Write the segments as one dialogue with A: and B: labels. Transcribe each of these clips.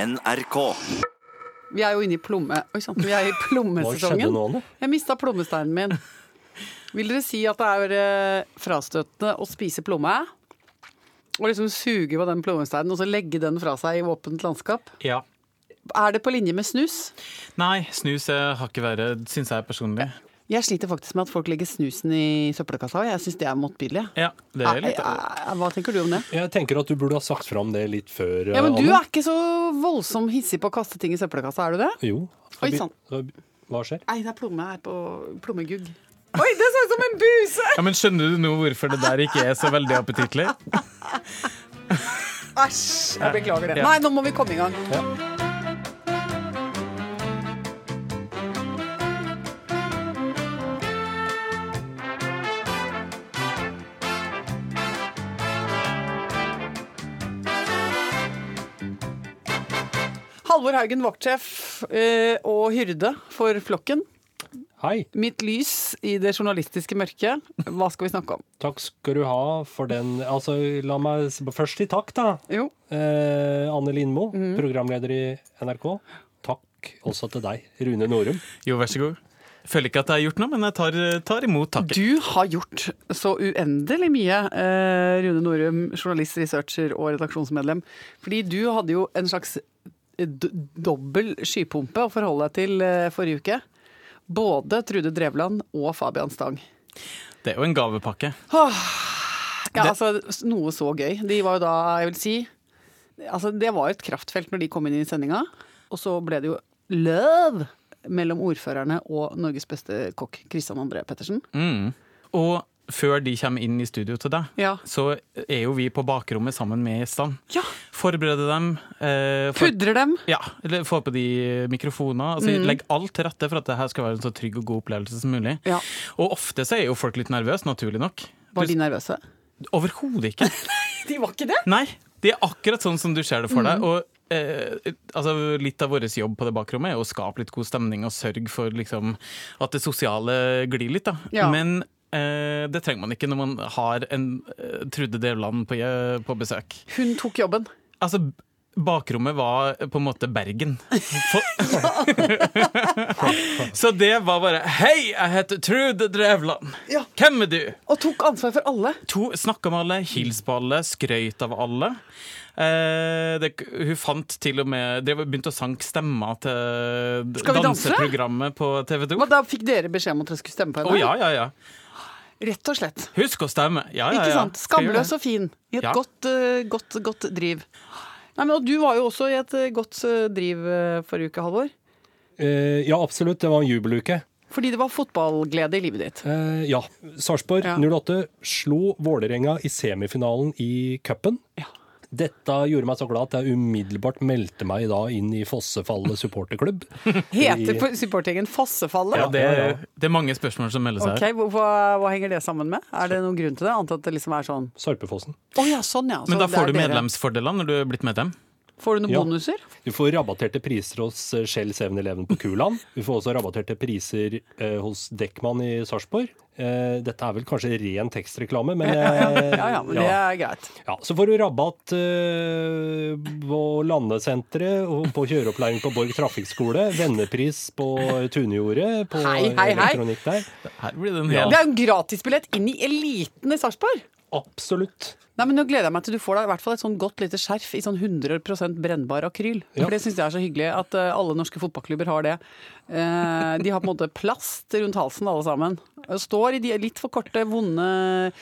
A: NRK.
B: Vi er jo inne i plomme... Oi sann, vi er i plommesesongen.
C: nå, Anne?
B: Jeg mista plommesteinen min. Vil dere si at det er eh, frastøtende å spise plomme? Og liksom suge på den plommesteinen og så legge den fra seg i åpent landskap?
D: Ja.
B: Er det på linje med snus?
D: Nei, snus eh, har ikke verre, syns jeg personlig.
B: Jeg sliter faktisk med at folk legger snusen i søppelkassa. og Jeg syns det er motbydelig.
D: Ja, det er litt
B: Eh, eh, Hva tenker du om det?
C: Jeg tenker at du burde ha sagt fram det litt før. eh,
B: Ja, men Du
C: Anne.
B: er ikke så voldsom hissig på å kaste ting i søppelkassa, er du det?
C: Jo.
B: Oi, sånn. sant.
C: Hva skjer?
B: Nei, det er plomme her på plommegugg. Oi, det så ut som en buse!
D: Ja, men Skjønner du nå hvorfor det der ikke er så veldig appetittlig?
B: Æsj! Jeg beklager det.
D: Ja.
B: Nei, nå må vi komme i gang. Halvor Haugen, vaktsjef eh, og hyrde for flokken.
C: Hei.
B: Mitt lys i det journalistiske mørket. Hva skal vi snakke om?
C: Takk skal du ha for den. Altså, la meg s- først si takk, da.
B: Jo,
C: Eh, Anne Lindmo,
B: Mhm.
C: programleder i NRK. Takk også til deg, Rune Norum.
D: Jo, vær så god. Føler ikke at jeg har gjort noe, men jeg tar, tar imot takken.
B: Du har gjort så uendelig mye, eh, Rune Norum, journalist, researcher og redaksjonsmedlem. Fordi du hadde jo en slags eh, d dobbel skypumpe å forholde deg til eh, forrige uke. Både Trude Drevland og Fabian Stang.
D: Det er jo en gavepakke.
B: Ja,
D: Det-
B: altså, noe så gøy. De var jo da, jeg vil si altså, Det var jo et kraftfelt når de kom inn i sendinga. Og så ble det jo løv mellom ordførerne og Norges beste kokk, Kristian André Pettersen.
D: Mm. Og før de kommer inn i studio til deg,
B: Ja.
D: så er jo vi på bakrommet sammen med gjestene.
B: Ja.
D: Forbereder dem. Eh, for,
B: Pudrer dem!
D: ja, eller får på de mikrofoner. Altså,
B: Mm.
D: Legg alt til rette for at det her skal være en så trygg og god opplevelse som mulig.
B: Ja.
D: Og ofte så er jo folk litt nervøse, naturlig nok.
B: Var
D: Du-
B: de nervøse?
D: Overhodet ikke.
B: De var ikke det?
D: Nei, de er akkurat sånn som du ser det for deg. Og eh, altså, litt av vår jobb på det bakrommet er å skape litt god stemning og sørge for liksom, at det sosiale glir litt. Da.
B: Ja.
D: Men eh, det trenger man ikke når man har en eh, Trude Drevland på, eh, på besøk.
B: Hun tok jobben.
D: Altså, bakrommet var på en måte Bergen. For... Så det var bare Hei, jeg heter Trude Drevland.
B: Ja.
D: Hvem er du?
B: Og tok ansvar for alle.
D: To snakka med alle, hils på alle, skrøyt av alle. Eh, det, hun fant til og med drev, Begynte å sanke stemmer til d-
B: Skal vi danse?
D: danseprogrammet på TV 2.
B: Men da fikk dere beskjed om at dere skulle stemme på
D: Å
B: henne?
D: ja, ja, ja.
B: Rett og slett.
D: Husk å stemme! Ja, ja, ja.
B: Ikke sant?
D: Skal gjøre
B: Skamløs
D: det.
B: og fin. I et
D: Ja.
B: godt, eh, godt, godt driv. Nei, men, og du var jo også i et eh, godt eh, driv eh, forrige uke, Halvor.
C: Eh, ja, absolutt. Det var en jubeluke.
B: Fordi det var fotballglede i livet ditt.
C: Eh, ja. Sarpsborg
B: Ja.
C: 08 slo Vålerenga i semifinalen i cupen.
B: Ja.
C: Dette gjorde meg så glad at jeg umiddelbart meldte meg da inn i Fossefallet supporterklubb.
B: Heter
C: I-
B: på supporteringen Fossefallet?
D: Ja, det,
C: Ja, ja.
D: det er mange spørsmål som melder seg
B: Ok,
D: her.
B: hvor- hva, hva henger det sammen med? Er det noen grunn til det? Annet at det liksom er sånn
C: Sarpefossen.
B: Å ja, sånn ja. Så
D: Men da
B: det er
D: får du
B: dere.
D: medlemsfordeler når du er blitt medlem.
B: Får du noen
C: Ja.
B: bonuser?
C: Du får rabatterte priser hos eh, Shell 7-Eleven på Kuland. Du får også rabatterte priser eh, hos Dekkmann i Sarpsborg. Eh, dette er vel kanskje ren tekstreklame, men eh,
B: Ja ja, men det
C: ja.
B: er greit.
C: Ja, så får du rabatt eh, på landesenteret og på kjøreopplæring på Borg trafikkskole. Vennepris på Tunejordet på
B: Hei, hei, hei.
C: elektronikk der.
D: Her blir det en
C: Ja.
D: hel
B: Det er jo en gratisbillett inn i eliten i Sarpsborg!
C: Absolutt.
B: Nei, men Nå gleder jeg meg til du får deg i hvert fall et sånn godt lite skjerf i sånn 100 brennbar akryl.
C: Ja.
B: For Det syns jeg er så hyggelig at eh, alle norske fotballklubber har det. Eh, de har på en måte plast rundt halsen alle sammen. Og Står i de litt for korte, vonde,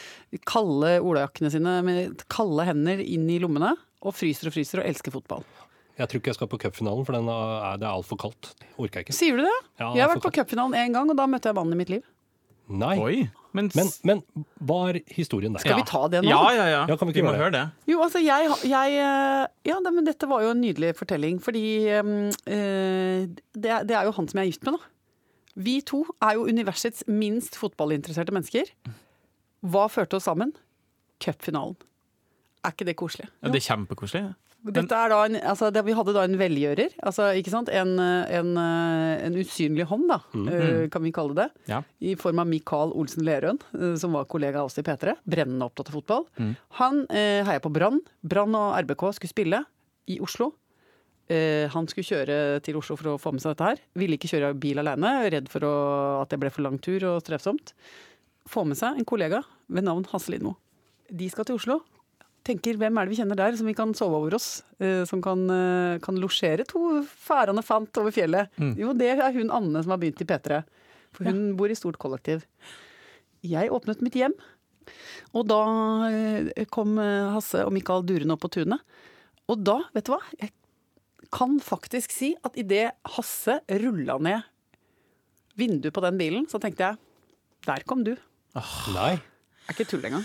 B: kalde olajakkene sine med kalde hender inn i lommene. Og fryser og fryser og elsker fotball.
C: Jeg tror ikke jeg skal på cupfinalen, for den er, det er altfor kaldt. Orker jeg ikke.
B: Sier du det?
C: Ja,
B: jeg har vært
C: for
B: på cupfinalen én gang, og da møtte jeg mannen i mitt liv.
C: Nei.
D: Oi! Men,
C: Men, men var historien der?
B: Skal vi ta det nå?
D: Ja, ja, ja.
C: Ja, kan vi ikke
D: vi må
C: gjøre
D: høre det.
B: Jo, altså jeg, jeg eh, Ja, nei, men dette var jo en nydelig fortelling, fordi eh, eh, det, er- det er jo han som jeg er gift med, da. Vi to er jo universets minst fotballinteresserte mennesker. Hva førte oss sammen? Cupfinalen. Er ikke det koselig?
D: Ja, det er kjempekoselig.
B: Dette er da en, altså, det, vi hadde da en velgjører, altså, ikke sant? En, eh, en, eh, en usynlig hånd, da, eh, kan vi kalle det.
D: Ja.
B: I form av Mikael Olsen Lerøen, eh, som var kollega av oss i P3. Brennende opptatt av fotball. Han eh, heia på Brann. Brann og RBK skulle spille i Oslo. eh, han skulle kjøre til Oslo for å få med seg dette her. Ville ikke kjøre bil alene, redd for å, at det ble for lang tur og strevsomt. Få med seg en kollega ved navn Hasse Lindmo. De skal til Oslo. Tenker, Hvem er det vi kjenner der som vi kan sove over oss? eh, Som kan, eh, kan losjere to færende fant over fjellet?
D: Mm.
B: Jo, det er hun Anne som har begynt i P3. For hun bor i stort kollektiv. Jeg åpnet mitt hjem. Og da eh, kom eh, Hasse og Mikael Duren opp på tunet. Og da, vet du hva? Jeg kan faktisk si at idet Hasse rulla ned vinduet på den bilen, så tenkte jeg der kom du. Jeg
C: Nei.
B: er ikke tull engang.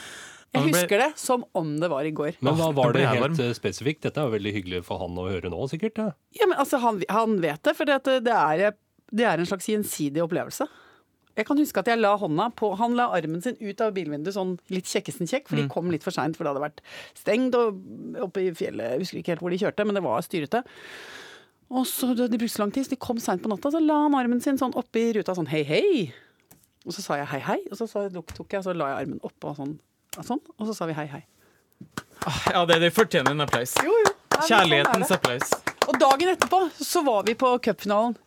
D: Ja,
B: Jeg
D: men ble-
B: husker det som om det var i går.
C: Men hva
D: Åh,
C: var
D: nå ble
C: det
D: jeg
C: helt
D: varm.
C: eh, spesifikt? Dette er jo veldig hyggelig for han å høre nå, sikkert. Ja.
B: Ja, men altså, han, han vet det, for det, at det, er, det er en slags gjensidig opplevelse. Jeg kan huske at jeg la hånda på Han la armen sin ut av bilvinduet sånn litt kjekkesen kjekk, for de kom litt for seint, for det hadde vært stengt og oppe i fjellet. Jeg husker ikke helt hvor de kjørte, men det var styrete. Og så De brukte så lang tid, så de kom seint på natta. Så la han armen sin sånn oppi ruta sånn hei, hei. Og så sa jeg hei, hei. Og så sa, tok jeg, så la jeg armen oppå sånn, sånn, og så sa vi hei, hei.
D: Ah, Ja, det, det fortjener en applaus.
B: Jo, jo. Ja, men sånn er det.
D: Kjærlighetens applaus.
B: Og dagen etterpå så var vi på cupfinalen.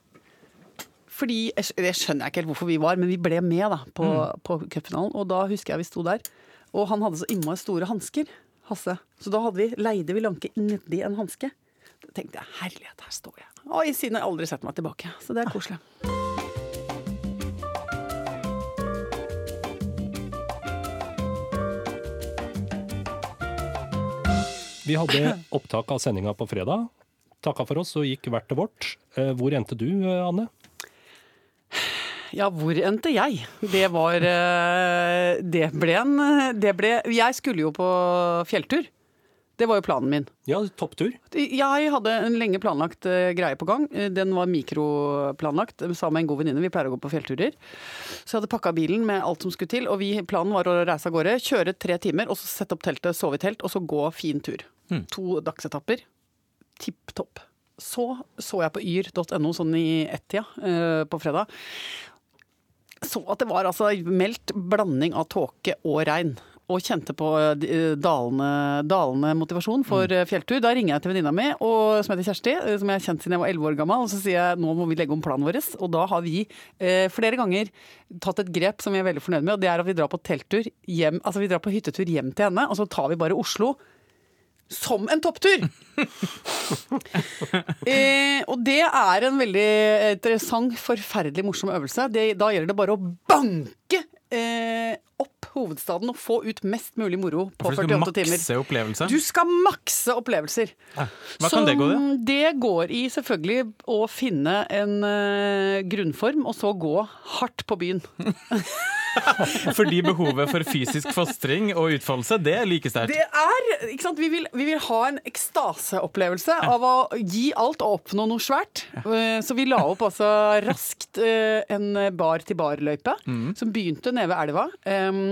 B: Fordi, Det skjønner jeg ikke helt hvorfor vi var, men vi ble med da, på, på cupfinalen. Og da husker jeg vi sto der, og han hadde så innmari store hansker, Hasse. Så da hadde vi, leide vi Lanke nedi en hanske. Da tenkte jeg herlighet, her står jeg. Oi, siden har jeg aldri sett meg tilbake. Så det er koselig.
C: Vi hadde opptak av sendinga på fredag. Takka for oss og gikk hvert til vårt. Eh, Hvor endte du, eh, Anne?
B: Ja, hvor endte jeg? Det var eh, Det ble en eh, det ble, Jeg skulle jo på fjelltur. Det var jo planen min.
C: Ja, topptur.
B: Jeg hadde en lenge planlagt eh, greie på gang. Eh, Den var mikroplanlagt eh, sammen med en god venninne. Vi pleier å gå på fjellturer. Så jeg hadde pakka bilen med alt som skulle til, og vi, planen var å reise av gårde, kjøre tre timer, og så sette opp teltet, sove i telt, og så gå fin tur. To dagsetapper. Tipp topp. Så så jeg på yr.no sånn i ett-tida eh, på fredag. Så at det var altså meldt blanding av tåke og regn. Og kjente på eh, dalende, dalende motivasjon for eh, fjelltur. Da ringer jeg til venninna mi, og, som heter Kjersti, eh, som jeg har kjent siden jeg var 11 år gammel. Og så sier jeg nå må vi legge om planen vår. Og da har vi eh, flere ganger tatt et grep som vi er veldig fornøyd med. Og det er at vi drar på telttur hjem, altså vi drar på hyttetur hjem til henne, og så tar vi bare Oslo. Som en topptur! eh, og det er en veldig interessant, forferdelig morsom øvelse. Det, da gjelder det bare å banke eh, opp hovedstaden og få ut mest mulig moro på
D: For du skal
B: 48 timer.
D: makse opplevelsen.
B: Du skal makse opplevelser.
D: Hva kan det gå i?
B: Så det går i selvfølgelig å finne en eh, grunnform, og så gå hardt på byen.
D: Fordi behovet for fysisk fostring og utfoldelse, det er like sterkt.
B: Det er, ikke sant? Vi, vil, vi vil ha en ekstaseopplevelse av å gi alt og oppnå noe svært. Eh, Så vi la opp altså raskt eh, en bar-til-bar-løype som begynte nede ved elva. Em,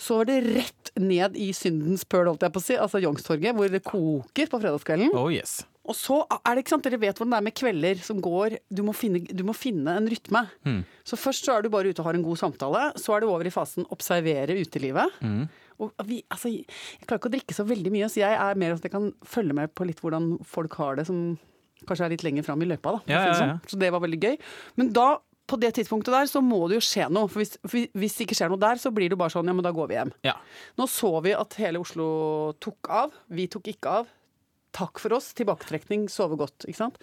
B: Så var det rett ned i syndens pøl, holdt jeg på å si, altså Youngstorget, hvor det koker på fredagskvelden.
D: Oh yes.
B: Og så er det ikke sant, dere vet hvordan det er med kvelder som går, du må finne, du må finne en rytme.
D: Mm.
B: Så først så er du bare ute og har en god samtale, så er du over i fasen observere utelivet.
D: Mm.
B: Og vi, altså, jeg klarer ikke å drikke så veldig mye, så jeg er mer sånn at jeg kan følge med på litt hvordan folk har det som kanskje er litt lenger fram i løypa. Da, for å si
D: Ja,
B: det
D: ja, ja.
B: sånn. Så det var veldig gøy. Men da, på det tidspunktet der, så må det jo skje noe. For hvis, for hvis det ikke skjer noe der, så blir det bare sånn, ja, men da går vi hjem.
D: Ja.
B: Nå så vi at hele Oslo tok av. Vi tok ikke av. Takk for oss, tilbaketrekning, sove godt. ikke sant?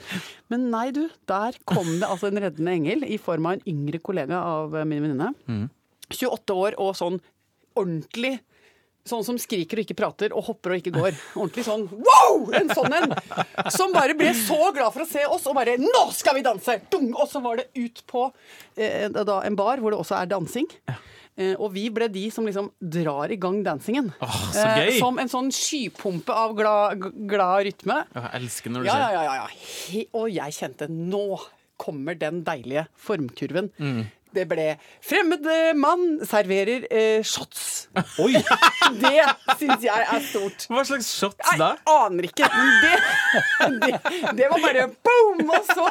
B: Men nei du, der kom det altså en reddende engel i form av en yngre kollega av eh, min venninne. 28 år og sånn ordentlig Sånn som skriker og ikke prater, og hopper og ikke går. Ordentlig sånn wow! En sånn en! Som bare ble så glad for å se oss, og bare nå skal vi danse! Dung! Og så var det ut på eh, da, en bar hvor det også er dansing. Eh, og vi ble de som liksom drar i gang dansingen.
D: Åh, så gøy!
B: som en sånn skypumpe av glad, glad rytme.
D: Jeg elsker når det
B: Ja, ja,
D: skjer.
B: ja. ja, ja. He og jeg kjente nå kommer den deilige formkurven.
D: Mm.
B: Det ble 'Fremmed eh, mann serverer eh, shots'.
C: Oi!
B: Det syns jeg er stort.
D: Hva slags shots
B: Jeg
D: da?
B: aner ikke. Men det, det, det var bare boom! Og, så,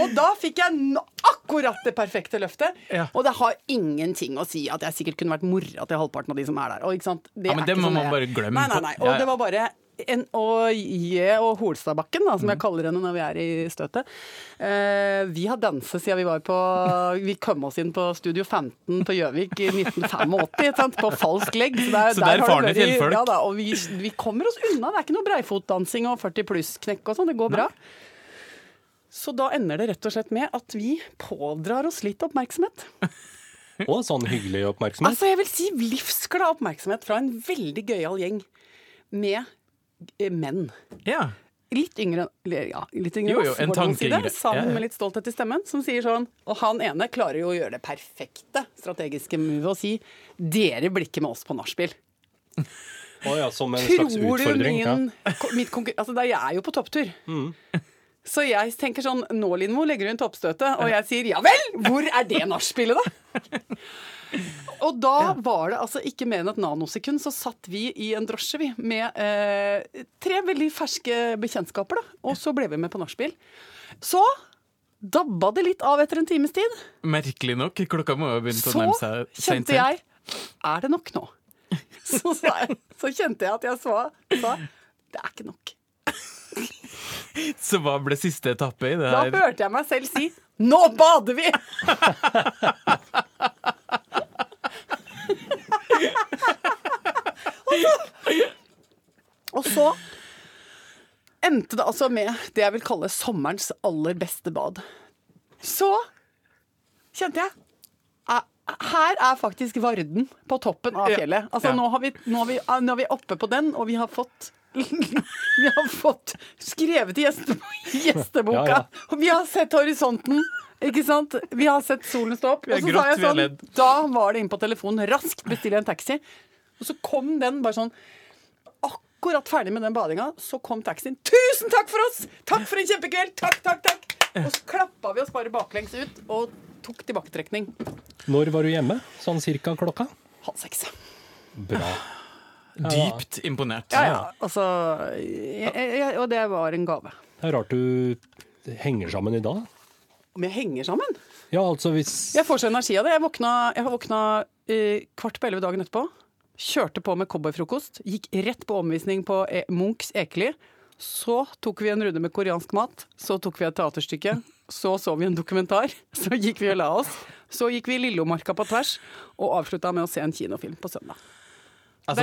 B: og da fikk jeg n- akkurat det perfekte løftet.
D: Ja.
B: Og det har ingenting å si at jeg sikkert kunne vært mora til halvparten av de som er der. Og, ikke sant? Det
D: Ja,
B: er
D: men det
B: ikke
D: må
B: sånn
D: man
B: jeg-
D: bare glemme.
B: Nei, nei, nei. Og
D: Ja, ja.
B: det var bare en, og Jø og Holstadbakken, da, som
D: Mm.
B: jeg kaller henne når vi er i støtet. Eh, vi har danset siden vi var på Vi kom oss inn på Studio 15 på Gjøvik i 1985, ikke sant? på falsk legg. Så der,
D: Så
B: har
D: der faren
B: det
D: din
B: vært-
D: fjellfolk.
B: Ja, da, og vi, vi kommer oss unna. Det er ikke noe breifotdansing og 40 pluss-knekk og sånn. Det går bra. Så da ender det rett og slett med at vi pådrar oss litt oppmerksomhet.
C: Og sånn hyggelig oppmerksomhet.
B: Altså, jeg vil si livsglad oppmerksomhet fra en veldig gøyal gjeng med eh, menn.
D: Ja.
B: Litt yngre, eller ja, litt yngre
D: Jo,
B: enn
D: jo,
B: oss, går det
D: en
B: an å
D: tanke
B: si det,
D: yngre. Ja,
B: Sammen
D: ja.
B: med litt stolthet i stemmen, som sier sånn Og han ene klarer jo å gjøre det perfekte strategiske movet og si Dere blir ikke med oss på nachspiel.
C: Å ja, som en
B: Tror
C: slags
B: du
C: utfordring. Ja.
B: min ko- mitt konkur- Altså, da- jeg er jo på topptur. Så jeg tenker sånn Nå, Lindmo, legger du inn toppstøtet? Og jeg sier ja vel! Hvor er det nachspielet, da? Og da var det altså ikke mer enn et nanosekund, så satt vi i en drosje, vi, med eh, tre veldig ferske bekjentskaper, da. Og så ble vi med på nachspiel. Så dabba det litt av etter en times tid.
D: Merkelig nok. Klokka må jo ha begynt å
B: Så
D: nærme seg sent, sent.
B: kjente jeg Er det nok nå? Så, sa jeg, så kjente jeg at jeg sa, sa det er ikke nok.
D: Så hva ble siste etappe i det
B: Da
D: her?
B: hørte jeg meg selv si Nå bader vi! og, så, og så endte det altså med det jeg vil kalle sommerens aller beste bad. Så kjente jeg "Æ, her er faktisk Varden på toppen av
D: Ja.
B: fjellet. Altså,
D: Ja.
B: nå, har vi, nå, har vi, nå er vi oppe på den, og vi har fått Vi har fått skrevet i gjeste- gjesteboka,
C: Ja, ja.
B: og vi har sett horisonten. Ikke sant? Vi har sett solen stå opp.
D: har
B: og så
D: grått,
B: sa jeg
D: vi har
B: sånn
D: ledd.
B: Da var det inn på telefonen, raskt bestille en taxi. Og så kom den bare sånn Akkurat ferdig med den badinga, så kom taxien. Tusen takk for oss! Takk for en kjempekveld! Takk, takk, takk! Og så klappa vi oss bare baklengs ut og tok tilbaketrekning.
C: Når var du hjemme? Sånn cirka klokka?
B: Halv seks.
C: Bra.
D: Dypt imponert.
B: Ja, ja. Altså jeg, jeg, Og det var en gave.
C: Det er rart du henger sammen i dag.
B: Om jeg henger sammen?
C: Ja, altså hvis
B: Jeg får så energi av det. Jeg, våkna, jeg har våkna eh, kvart på elleve dagen etterpå. Kjørte på med cowboyfrokost. Gikk rett på omvisning på e Munchs Ekely. Så tok vi en runde med koreansk mat. Så tok vi et teaterstykke. Så så vi en dokumentar. Så gikk vi og la oss. Så gikk vi Lillomarka på tvers, og avslutta med å se en kinofilm på søndag.
D: Altså,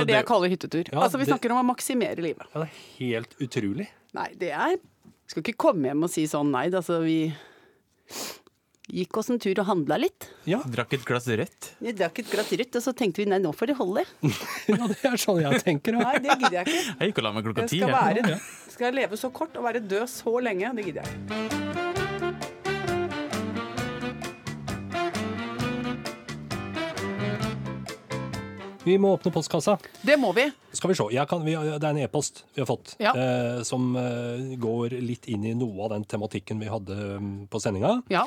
B: Det er det jeg kaller hyttetur.
C: Ja,
B: altså Vi
C: det-
B: snakker om å maksimere livet.
C: Ja, det er helt utrolig.
B: Nei, det er Skal ikke komme hjem og si sånn nei, da, altså vi gikk oss en tur og handla litt.
C: Ja,
D: Drakk et glass rødt.
B: Vi drakk et glass rødt, og så tenkte vi nei, nå får det holde.
C: ja, det er sånn jeg tenker. Ja.
B: Nei, det gidder jeg ikke.
D: Jeg gikk og la meg klokka
B: Jeg
D: ti.
B: skal,
D: jeg.
B: være, skal jeg leve så kort og være død så lenge, det gidder jeg ikke.
C: Vi må åpne postkassa.
B: Det må vi.
C: Skal vi se. Jeg kan, vi, det er en e-post vi har fått,
B: Ja.
C: eh, som eh, går litt inn i noe av den tematikken vi hadde mm, på sendinga.
B: Ja.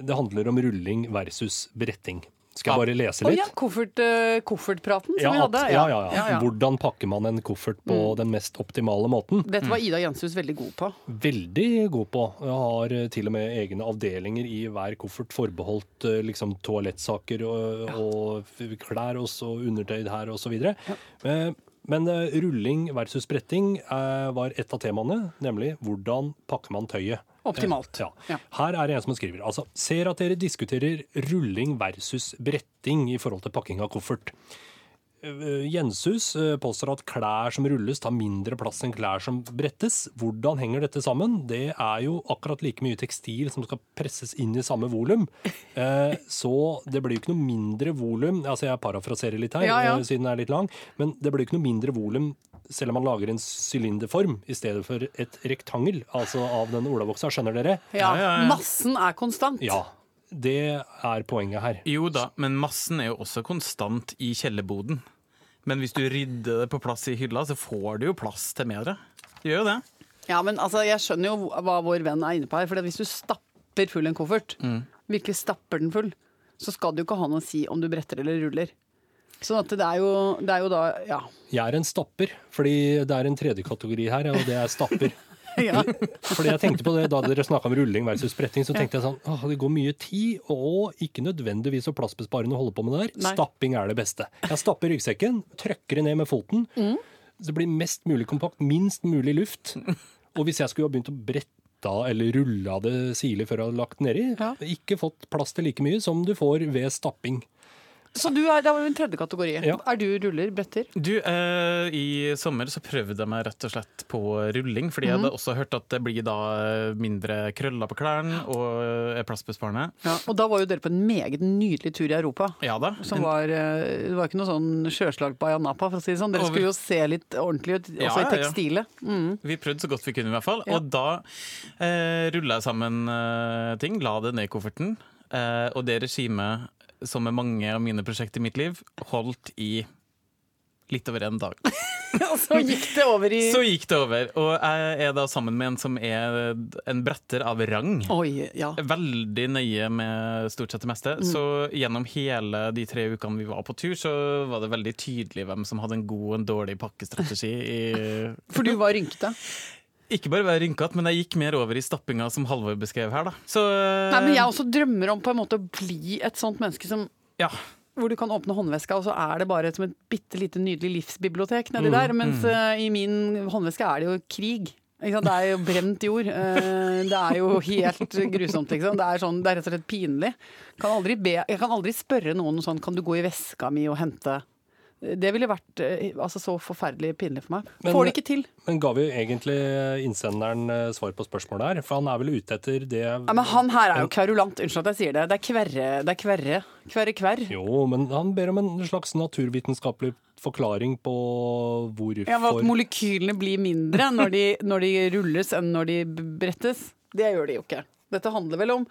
C: Det handler om rulling versus bretting. Skal jeg bare lese
B: Og
C: litt?
B: ja, koffert, eh, koffertpraten som vi
C: at-
B: hadde.
C: ja, ja, ja. Hvordan pakker man en koffert på
B: Mm.
C: den mest optimale måten?
B: Dette var Ida Jenshus veldig god på.
C: Veldig god på. Jeg har eh, til og med egne avdelinger i hver koffert forbeholdt eh, liksom, toalettsaker og, og f- klær og så undertøy her og så videre. Eh, Men eh, rulling versus bretting eh, var et av temaene, nemlig hvordan pakker man tøyet. Eh,
B: Optimalt.
C: Ja.
B: Ja.
C: Her er det en som skriver. Altså, ser at dere diskuterer rulling versus bretting i forhold til pakking av koffert. Eh, Jenshus eh, påstår at klær som rulles tar mindre plass enn klær som brettes. Hvordan henger dette sammen? Det er jo akkurat like mye tekstil som skal presses inn i samme volum. Eh, Så det blir jo ikke noe mindre volum Altså jeg parafraserer litt her,
B: Ja, ja.
C: eh, siden den er litt lang. Men det blir jo ikke noe mindre volum selv om man lager en sylinderform i stedet for et rektangel, altså av den olavoksa. Skjønner dere?
B: Ja,
D: Ja, ja, ja.
B: Massen er konstant.
C: Ja. Det er poenget her.
D: Jo da, men massen er jo også konstant i kjellerboden. Men hvis du rydder det på plass i hylla, så får du jo plass til mer. Du gjør jo det.
B: Ja, men altså, Jeg skjønner jo hva vår venn er inne på her. For hvis du stapper full en koffert,
C: Mm.
B: virkelig stapper den full, så skal det jo ikke ha noe å si om du bretter eller ruller. Sånn at det er jo, det er jo da Ja.
C: Jeg er en stapper, fordi det er en tredje kategori her, og det er stapper.
B: ja.
C: Fordi jeg tenkte på det Da dere snakka om rulling versus bretting, så tenkte jeg sånn Åh, det går mye tid, og ikke nødvendigvis så plassbesparende å holde på med det der.
B: Nei. Mm.
C: Stapping er det beste. Jeg stapper ryggsekken, trykker det ned med foten. det blir mest mulig kompakt, minst mulig luft. Og hvis jeg skulle ha begynt å brette av eller rulle av det sirlig før jeg hadde lagt nedi,
B: Ja.
C: ikke fått plass til like mye som du får ved stapping.
B: Så du er, det var jo en tredje kategori.
C: Ja.
B: Er du ruller, bretter?
D: Du, eh, I sommer så prøvde jeg meg rett og slett på rulling, fordi jeg hadde også hørt at det blir da eh, mindre krøller på klærne og eh, er plassbesparende.
B: Ja, og da var jo dere på en meget nydelig tur i Europa.
D: Ja da.
B: Som var, eh, det var ikke noe sånn sjøslag på Ayanapa, for å si det sånn. Dere
D: Over-
B: skulle jo se litt ordentlig ut, også
D: Ja,
B: i
D: ja, ja.
B: tekstilet. Mm.
D: Vi prøvde så godt vi kunne, i hvert fall.
B: Ja.
D: Og da eh, rulla jeg sammen eh, ting, la det ned i kofferten. Eh, og det regimet, som er mange av mine prosjekt i mitt liv, holdt i litt over en dag.
B: Og så gikk det over i
D: Så gikk det over. Og jeg er da sammen med en som er en bretter av rang.
B: Oi, ja.
D: Veldig nøye med stort sett det meste.
B: Mm.
D: Så gjennom hele de tre ukene vi var på tur, så var det veldig tydelig hvem som hadde en god og en dårlig pakkestrategi. I
B: For du var rynkete.
D: Ikke bare være rynkete, men jeg gikk mer over i stappinga som Halvor beskrev her, da. Så
B: Nei, men jeg også drømmer om på en måte å bli et sånt menneske som
D: ja.
B: hvor du kan åpne håndveska, og så er det bare som et bitte lite nydelig livsbibliotek nedi der. Mens eh, i min håndveske er det jo krig. Ikke sant? Det er jo brent jord. Eh, det er jo helt grusomt, liksom. Det er, sånn, det er rett og slett pinlig. Kan aldri be, jeg kan aldri spørre noen sånn Kan du gå i veska mi og hente Det ville vært eh, altså, så forferdelig pinlig for meg.
C: Men-
B: Får det ikke til.
C: Men ga vi egentlig innsenderen eh, svar på spørsmålet her? For han er vel ute etter det
B: Ja, men han her er jo kverulant. Unnskyld at jeg sier det. Det er kverre. Det er kverre. Kverre kverr.
C: Jo, men han ber om en slags naturvitenskapelig forklaring på hvorfor
B: Ja, men At molekylene blir mindre når de, når de rulles enn når de b- brettes. Det gjør de jo ikke. Dette handler vel om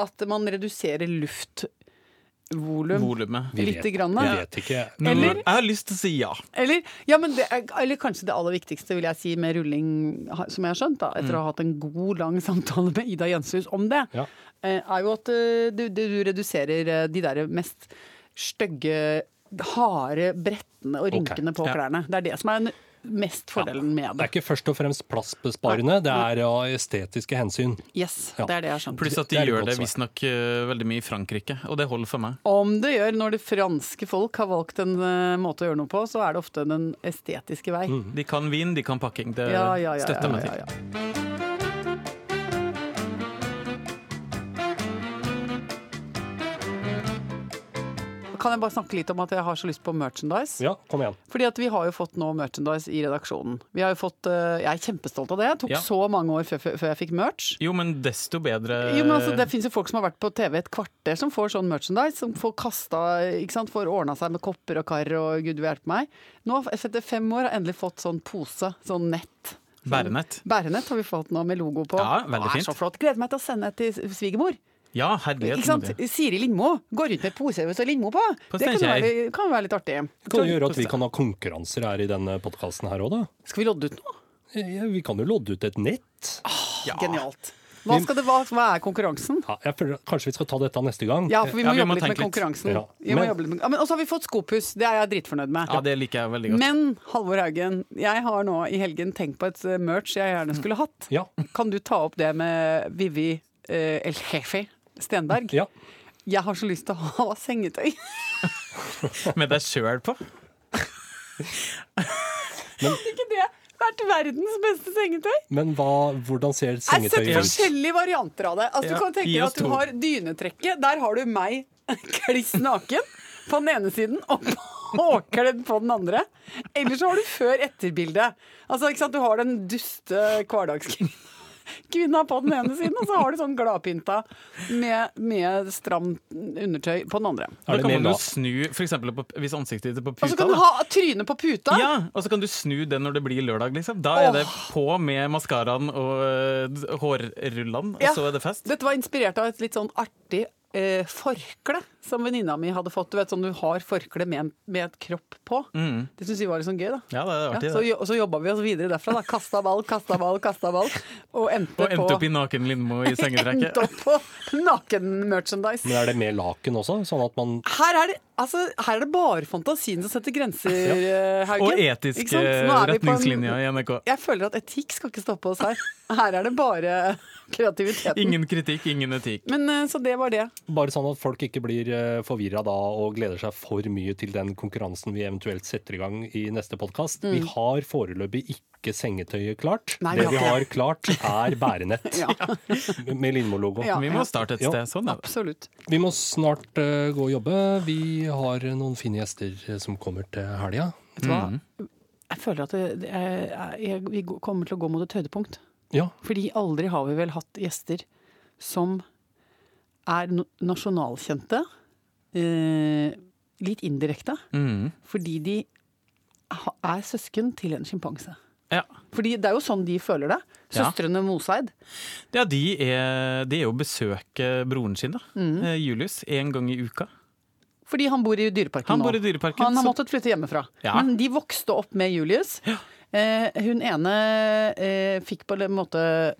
B: at man reduserer luftvolum
D: volumet.
C: Vi vet-
B: lite grann.
C: Vi
B: da.
C: vet ikke.
B: Eller-
D: Jeg har lyst til å si ja.
B: Eller, ja, men det, er- eller kanskje det aller viktigste vil jeg si med rulling, ha- som jeg har skjønt, da, etter å ha hatt en god, lang samtale med Ida Jenshus om det,
C: Mm. Ja.
B: eh, er jo at eh, du, du du reduserer eh, de der mest stygge, harde brettene og rynkene på
D: Ja.
B: klærne. Det er det som er den mest fordelen med
C: Det er
B: det.
C: ikke først og fremst plassbesparende, det er av estetiske hensyn.
B: Yes,
C: Ja.
B: det er det jeg har skjønt.
D: Pluss at
C: Det
D: de
C: er et
D: gjør
C: godt
D: det
C: svar.
D: visstnok eh, veldig mye i Frankrike, og det holder for meg.
B: Om det gjør når det franske folk har valgt en eh, måte å gjøre noe på, så er det ofte den estetiske vei.
C: Mm.
D: De kan vin, de kan pakking. Det
B: Ja, ja, ja, ja,
D: støtter Mm. Eh,
B: ja,
D: meg til.
B: ja. Kan jeg bare snakke litt om at jeg har så lyst på merchandise?
C: Ja, kom igjen.
B: Fordi at vi har jo fått nå merchandise i redaksjonen. Vi har jo fått, eh, jeg er kjempestolt av det. Det tok
D: Ja.
B: så mange år før, før før jeg fikk merch.
D: Jo, men desto bedre
B: Jo, men
D: Eh.
B: altså, Det fins jo folk som har vært på TV et kvarter som får sånn merchandise. Som får kasta, ikke sant, får ordna seg med kopper og kar og gud vil hjelpe meg. Nå, etter fem år, har jeg endelig fått sånn pose. Sånn nett.
D: bærenett.
B: Bærenett har vi fått nå med logo på.
D: Ja, veldig
B: Å, er
D: fint.
B: Så flott. Gleder meg til å sende et til svigermor.
D: Ja,
B: Ikke
D: herlighet.
B: sant?
D: Nadia.
B: Siri Lindmo. Går rundt med pose med Lindmo på.
D: På
B: det kan
D: Steinkjer.
B: være, kan være litt artig.
C: Det kan jo gjøre at vi kan ha konkurranser her i denne podkasten her òg, da.
B: Skal vi lodde ut noe?
C: Ja, Vi kan jo lodde ut et nett.
B: Ah.
D: Ja.
B: Genialt. Hva, skal det, hva, hva er konkurransen?
C: Ja, jeg føler, kanskje vi skal ta dette neste gang.
B: Ja, for vi må
D: Ja, vi må
B: jobbe litt med
D: tenke litt.
B: konkurransen.
C: Ja.
B: Vi må
C: Men-
B: jobbe litt med, ja, men, og så har vi fått skopuss. Det er jeg dritfornøyd med.
D: Ja, det liker jeg veldig godt.
B: Men Halvor Haugen, jeg har nå i helgen tenkt på et eh, merch jeg gjerne skulle hatt.
C: Ja.
B: Kan du ta opp det med Vivi eh, El Jefe Stenberg?
C: Ja.
B: Jeg har så lyst til å ha sengetøy.
D: Med deg sjøl på.
B: Ikke det? Hvert verdens beste sengetøy.
C: Men hva, hvordan
B: Jeg
C: ser
B: har sett
C: sengetøyet ut?
B: forskjellige varianter av det. Altså,
D: Ja,
B: Du kan tenke
D: gi
B: deg
D: oss
B: at du
D: to.
B: har dynetrekket. Der har du meg kliss naken på den ene siden og påkledd på den andre. Eller så har du før-etter-bildet. Altså, ikke sant? Du har den duste hverdagskvinna på den ene siden, og så har du sånn gladpynta med, med stramt undertøy på den andre.
D: Da
C: Er det
D: kan
C: mer
D: man jo
C: lavt?
D: snu, for eksempel på, hvis ansiktet ditt er på puta.
B: Og så kan du
D: da.
B: ha trynet på puta.
D: Ja, og så kan du snu det når det blir lørdag, liksom. Da er det på med maskaraen og øh, hårrullene, og
B: Ja.
D: så er det fest.
B: Dette var inspirert av et litt sånn artig eh, forkle som venninna mi hadde fått. Du vet sånn du har forkle med, en- med et kropp på. Det syns vi var litt sånn gøy, da.
D: Ja, det er
B: Ja,
D: Mm. artig.
B: så,
D: det.
B: jo- og så jobba vi oss videre derfra. da Kasta ball, kasta ball, kasta ball. Og endte,
D: Og endte
B: på,
D: opp i naken Lindmo i sengetrekket.
B: endte opp på naken-merchandise.
C: Men er det med laken også, sånn at man
B: Her er, det, altså, her er det bare fantasien som setter grenser, eh, Haugen.
D: Og
B: Ikke
D: etiske
B: sant? Så nå er vi på en-
D: retningslinjer i NRK.
B: Jeg føler at etikk skal ikke stoppe oss her. Her er det bare kreativiteten.
D: Ingen kritikk, ingen etikk.
B: Men eh, Så det var det.
C: Bare sånn at folk ikke blir eh, eh, forvirra da og gleder seg for mye til den konkurransen vi eventuelt setter i gang i neste podkast. Vi har foreløpig ikke sengetøyet klart.
B: Mm. Nei, vi
C: det
B: har
C: vi
B: ikke
C: har klart, er bærenett
B: Ja,
C: med Lindmo-logo.
B: Ja.
D: Vi må starte et
C: Ja.
D: sted. Sånn, da.
B: absolutt.
C: Vi må snart eh, gå og jobbe. Vi har noen fine gjester eh, som kommer til helga.
B: Vet du hva? Jeg føler at det, det er, jeg, vi går- kommer til å gå mot et høydepunkt.
C: Ja,
B: Fordi aldri har vi vel hatt gjester som er no- nasjonalkjente, eh, litt indirekte,
D: Mm.
B: fordi de ha- er søsken til en sjimpanse.
D: Ja.
B: Fordi det er jo sånn de føler det.
D: Ja.
B: Søstrene Moseid.
D: ja, de er, de er jo besøke broren sin, da.
B: Mm.
D: Eh, Julius. Én gang i uka.
B: Fordi han bor i dyreparken
D: Han
B: nå.
D: bor i dyreparken,
B: Han har
D: så-
B: måttet flytte hjemmefra.
D: Ja.
B: Men de vokste opp med Julius. Eh, hun ene eh, fikk på en måte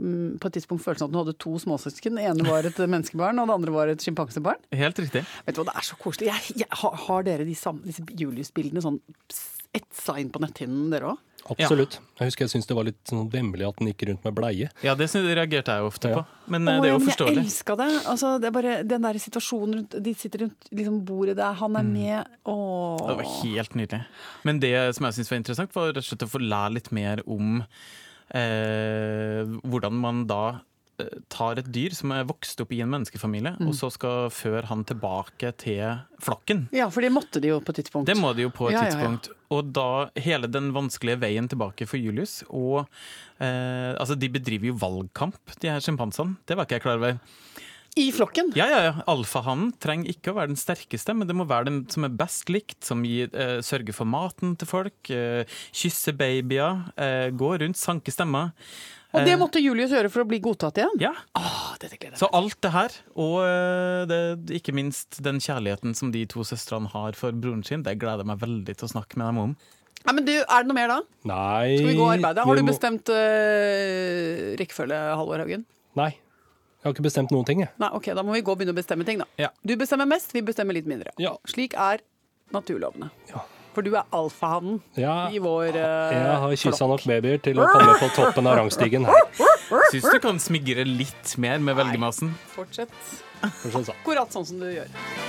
B: mm, på et tidspunkt følelsen av at hun hadde to småsøsken. Det ene var et menneskebarn, og det andre var et sjimpansebarn.
D: Helt riktig.
B: Vet du hva, det er så koselig. Jeg, jeg, har, har dere de samme, disse Julius-bildene sånn etsa inn på netthinnen, dere òg?
C: absolutt. Jeg husker jeg syntes det var litt sånn vemmelig at den gikk rundt med bleie.
D: Ja, det syns- reagerte jeg jo ofte
C: Ja.
D: på. Men eh, det er jo
B: Jeg
D: forståelig.
B: elska det. Altså, det er bare den der situasjonen rundt De sitter rundt liksom, bordet der, han er med.
D: Mm. Det
B: Åh.
D: var helt nydelig. Men det som jeg syns var interessant, var rett og slett å få lære litt mer om eh, hvordan man da eh, tar et dyr som er vokst opp i en menneskefamilie,
B: Mm.
D: og så skal føre han tilbake til flokken.
B: Ja, for det måtte de jo på et tidspunkt.
D: Det må de jo på et
B: Ja, ja, ja.
D: tidspunkt. Og da hele den vanskelige veien tilbake for Julius og eh, Altså, de bedriver jo valgkamp, de her sjimpansene. Det var ikke jeg klar over.
B: I flokken!
D: Ja, ja, ja. Alfahannen trenger ikke å være den sterkeste, men det må være den som er best likt, som gir, eh, sørger for maten til folk, eh, kysser babyer, eh, går rundt, sanker stemmer.
B: Og det måtte Julius gjøre for å bli godtatt igjen.
D: Ja,
B: Åh, Eh. Ah, dette gleder jeg meg
D: Så alt det her, og eh, det, ikke minst den kjærligheten som de to søstrene har for broren sin, det gleder jeg meg veldig til å snakke med dem om.
B: Nei, men du, Er det noe mer da?
C: Nei
B: Skal vi gå og arbeide? Har
C: vi
B: du
C: må-
B: bestemt øh, rekkefølge, Halvor Haugen?
C: Nei. Jeg har ikke bestemt noen ting, jeg.
B: Nei, ok, Da må vi gå og begynne å bestemme ting, da.
D: Ja.
B: Du bestemmer mest, vi bestemmer litt mindre.
C: Ja.
B: Slik er naturlovene.
C: Ja.
B: For du er alfahannen
C: Ja.
B: i vår eh,
C: Jeg har kyssa nok babyer til å komme på toppen av rangstigen her.
D: Syns du kan smigre litt mer med velgemassen?
B: Fortsett
C: for å si det sånn.
B: akkurat sånn som du gjør.